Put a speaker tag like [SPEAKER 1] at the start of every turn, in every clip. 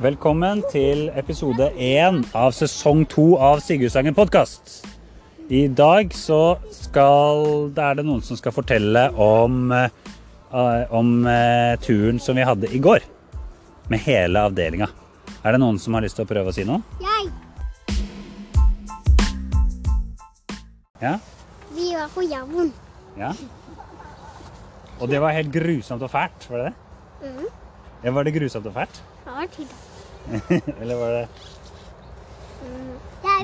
[SPEAKER 1] Velkommen til episode én av sesong to av Sigurdsangen podkast. I dag så skal det er det noen som skal fortelle om, eh, om eh, turen som vi hadde i går. Med hele avdelinga. Er det noen som har lyst til å prøve å si noe?
[SPEAKER 2] Jeg.
[SPEAKER 1] Ja?
[SPEAKER 2] Vi var på Javn.
[SPEAKER 1] ja? Og det var helt grusomt og fælt, var det det?
[SPEAKER 2] Mm.
[SPEAKER 1] Ja, var det grusomt og fælt?
[SPEAKER 2] Det var tid.
[SPEAKER 1] Eller var det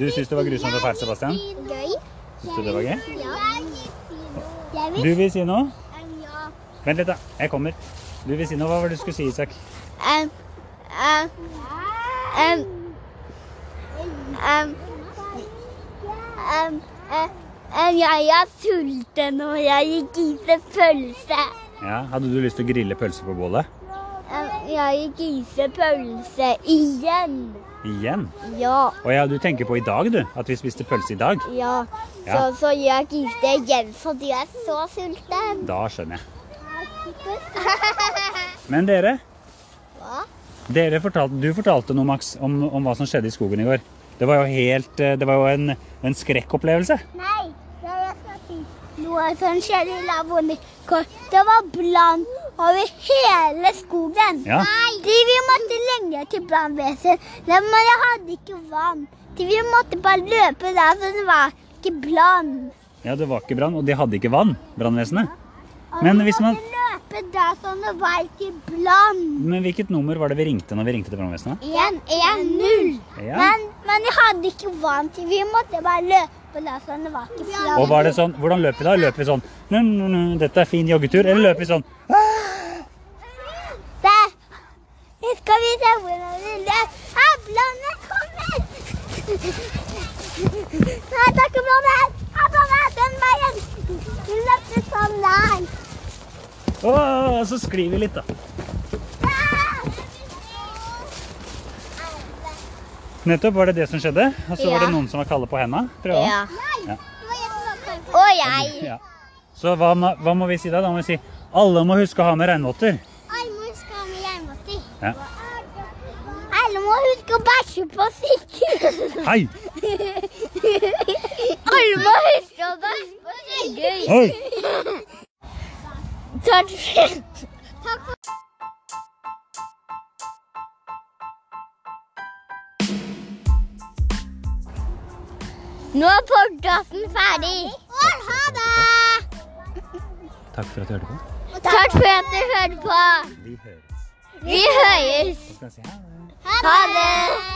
[SPEAKER 1] Du synes det var grusomt og fælt, Sebastian?
[SPEAKER 2] Gøy.
[SPEAKER 1] Syns du det var gøy?
[SPEAKER 2] Ja. Jeg
[SPEAKER 1] Du vil si noe?
[SPEAKER 2] Um, ja.
[SPEAKER 1] Vent litt, da. Jeg kommer. Du vil si noe? Hva var det du skulle si, Isak?
[SPEAKER 3] Um, um, um, um, um, um, um, jeg er sulten, og jeg vil spise pølse.
[SPEAKER 1] Ja, Hadde du lyst til å grille pølser på bålet?
[SPEAKER 3] Um, jeg vil spise pølse igjen.
[SPEAKER 1] Igjen?
[SPEAKER 3] Ja,
[SPEAKER 1] Å ja, du tenker på i dag, du? At vi spiste pølse i dag?
[SPEAKER 3] ja. Så,
[SPEAKER 1] Ja.
[SPEAKER 3] så jeg spiste igjen, for du er så sulten.
[SPEAKER 1] Da skjønner jeg. Men dere?
[SPEAKER 3] Hva?
[SPEAKER 1] dere fortalte, du fortalte noe, Max, om, om hva som skjedde i skogen i går. Det var jo helt eh, Det var jo en, en skrekkopplevelse.
[SPEAKER 2] Nei, jeg skal si noe som skjedde i lavvoen i går. Det var brann over hele skogen.
[SPEAKER 1] Ja.
[SPEAKER 2] De vi måtte lenge til brannvesen, Nei, men jeg hadde ikke vann. De vi måtte bare løpe der, så det var ikke brann.
[SPEAKER 1] Ja, det var ikke brann, og de hadde ikke vann, brannvesenet. Men hvis man
[SPEAKER 2] Vi måtte løpe der, så det var ikke brann.
[SPEAKER 1] Men hvilket nummer var det vi ringte når vi ringte til brannvesenet?
[SPEAKER 2] 1-1-0.
[SPEAKER 1] Ja.
[SPEAKER 2] Men, men de hadde ikke vann til. Vi måtte bare løpe da, så det var ikke flatt.
[SPEAKER 1] Og var det sånn Hvordan løp vi da? Løp vi sånn nu, nu, nu, Dette er fin joggetur. Eller løp vi sånn
[SPEAKER 2] Der! Nå skal vi se hvordan Ah, vi løp. Ablene kommer! Nei, det er ikke blommen. Ablene, den veien. Vi løpte sånn der.
[SPEAKER 1] Å, så sklir vi litt, da.
[SPEAKER 2] Ah.
[SPEAKER 1] Nettopp var det det som skjedde. Og så var det
[SPEAKER 3] Ja.
[SPEAKER 1] noen som var kalde på henda. Tror jeg. Ja.
[SPEAKER 2] Nei, det var jeg som var på.
[SPEAKER 3] Og jeg.
[SPEAKER 1] Ja. Så hva, må- hva må vi si da? Da må vi si alle må huske å ha med regnvotter.
[SPEAKER 2] Almor skal ha med jernvotter.
[SPEAKER 1] Ja.
[SPEAKER 2] Alle må huske å bæsje på Sigurd.
[SPEAKER 1] Hei!
[SPEAKER 3] Alle må huske å bæsje på Sigurd.
[SPEAKER 1] Hei!
[SPEAKER 3] Takk for Nå er podkasten ferdig.
[SPEAKER 2] Ha det!
[SPEAKER 1] Takk for at du hørte på.
[SPEAKER 3] Takk for at du hørte på.
[SPEAKER 1] Vi høres.
[SPEAKER 3] Vi høres.
[SPEAKER 1] Så skal jeg si ha det.
[SPEAKER 3] Ha det.